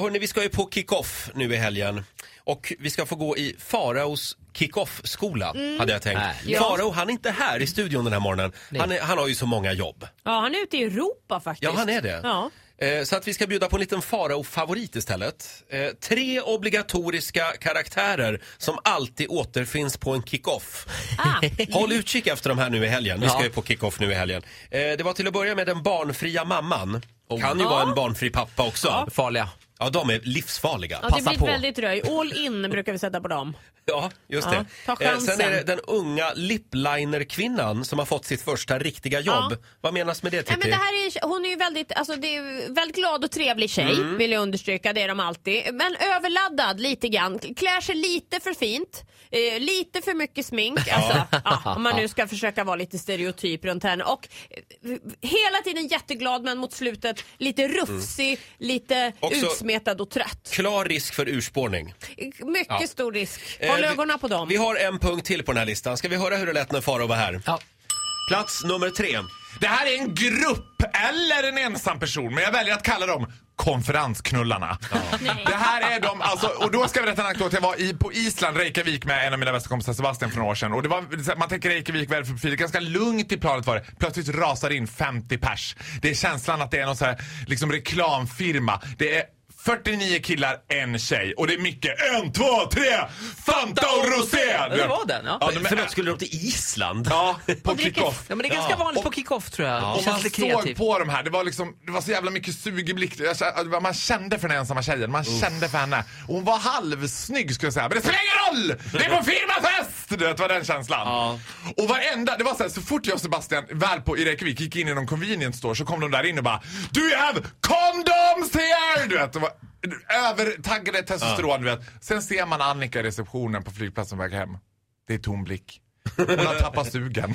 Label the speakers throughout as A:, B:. A: Hörrni, vi ska ju på kick-off nu i helgen. Och vi ska få gå i Faraos kick-off-skola, hade jag tänkt.
B: Härligt.
C: Mm. Ja.
A: Farao, han är inte här i studion den här morgonen. Han, är, han har ju så många jobb.
C: Ja, han är ute i Europa faktiskt.
A: Ja, han är det.
C: Ja.
A: Eh, Så att vi ska bjuda på en liten Farao-favorit istället. Eh, Tre obligatoriska karaktärer som alltid återfinns på en kick-off.
C: Ah,
A: Håll utkik efter de här nu i helgen. Vi ska
B: Ja.
A: ju på kick-off nu i helgen. Eh, Det var till att börja med den barnfria mamman. Kan ju
C: Oh. Ja.
A: vara en barnfri pappa också. Ja,
B: Farliga.
A: de är livsfarliga.
C: ja, det
B: Passa
C: blir
B: på.
C: ett väldigt röj. All in brukar vi sätta på dem.
A: Ja, just
C: Ja, ta
A: det. Eh,
C: chansen.
A: Sen är det den unga lipliner-kvinnan som har fått sitt första riktiga jobb.
C: Ja.
A: Vad menas med det Titti?
C: Nej, men det här är, hon är ju väldigt, alltså, det är ju väldigt glad och trevlig tjej,
A: Mm.
C: vill jag understryka. Det är de alltid. Men överladdad lite grann. Klär sig lite för fint. Eh, lite för mycket smink. Alltså, ja, om man nu ska försöka vara lite stereotyp runt henne. Och eh, hela tiden jätteglad men mot slutet lite rufsig, lite
A: Mm. Också-
C: utsmetad och trött.
A: Klar risk för urspårning.
C: Mycket
A: Ja.
C: stor risk.
A: Eh,
C: Håll
A: vi-
C: ögonen på dem.
A: Vi har en punkt till på den här listan. Ska vi höra hur det lät när Faro var här?
B: Ja.
A: Plats nummer tre. Eh,
D: Det här är en grupp eller en ensam person, men jag väljer att kalla dem konferensknullarna. Det här är de, alltså, och då ska jag berätta en anekdot. Jag var i, på Island, Reykjavik, med en av mina bästa kompisar Sebastian för några år sedan. Och det var, så här, man tänker Reykjavik, väl för fil, ganska lugnt i planet var det. Plötsligt rasar in 50 pers. Det är känslan att det är någon så här, liksom reklamfirma. Det är 49 killar, en tjej. Och det är mycket en, två, tre, Fanta och Rosé!
B: Ja, det var den, ja.
A: Ja,
D: men-
A: Förlåt, skulle de till Island?
D: Ja, på
C: Och dricker
D: kick-off.
B: Ja, men det är ganska
A: Ja.
B: vanligt på kick-off tror jag.
D: Och
B: Det
D: man
B: känns lite
D: såg
B: kreativt.
D: på de här, det var, liksom, det var så jävla mycket sug i blick. Jag kände- det var- Man kände för den ensamma tjejen, man kände för henne. Och hon var halvsnygg skulle jag säga, men det spelar ingen roll! Det är på firmafest! Du vet, Det var den känslan.
B: Ja.
D: Och varenda, det var så här, så fort jag och Sebastian väl på i Reykjavik gick in i någon convenience store så kom de där in och bara Do you have condoms here? Du vet, de var övertaggade testosteron, du vet. Sen ser man Annika i receptionen på flygplatsen på väg hem. Det är tom blick. Hon har tappat sugen.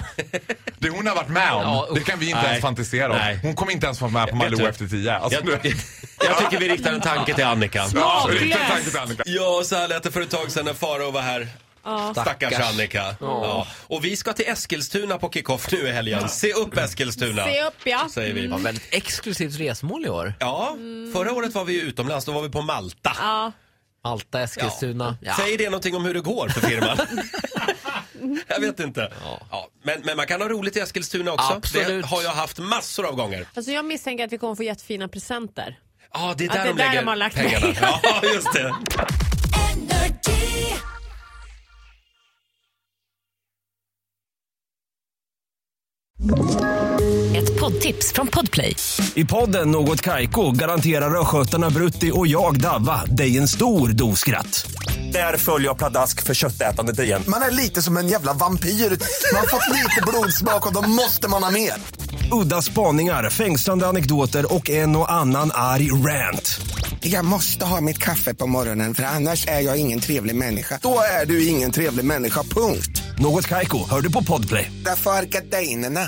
D: Det hon har varit med om,
B: Ja, usch.
D: det kan vi inte
A: Nej.
D: ens fantisera om.
A: Nej.
D: Hon kommer inte ens vara med på Malou
A: du-
D: efter tio. Alltså,
A: Jag,
D: du vet.
A: jag tycker vi riktar en tanke till Annika.
D: Ja,
C: Smaklöst.
D: riktigt tanke till Annika.
A: Ja, så här lät det för ett tag sedan när Farao var här. Stackars
B: Stackars.
A: Annika. Ja. Och vi ska till Eskilstuna på kick-off nu i helgen. Se upp Eskilstuna!
C: Se upp ja.
A: Säger vi.
B: Det var väldigt exklusivt resmål i år.
A: Ja, förra året var vi ju utomlands, då var vi på Malta.
C: Mm. Ja.
B: Malta, Eskilstuna. Ja.
A: Säger det någonting om hur det går för firman? jag vet inte. Ja, men, men man kan ha roligt i Eskilstuna också.
B: Absolut.
A: Det har jag haft massor av gånger.
C: Alltså jag misstänker att vi kommer få jättefina presenter.
A: Ja, det är
C: Ja,
A: där
C: det
A: de
C: är där
A: lägger
C: de har lagt
A: pengarna.
C: pengarna.
A: ja, just det.
E: Ett poddtips från Podplay.
F: I podden Något Kaiko garanterar östgötarna Brutti och jag, Davva, dig en stor dos skratt. Där följer jag pladask för köttätandet igen.
G: Man är lite som en jävla vampyr. Man har fått lite blodsmak och då måste man ha mer.
F: Udda spaningar, fängslande anekdoter och en och annan arg rant.
G: Jag måste ha mitt kaffe på morgonen för annars är jag ingen trevlig människa. Då är du ingen trevlig människa, punkt.
F: Något Kaiko, hör du på Podplay.
G: Därför arkadeinerna.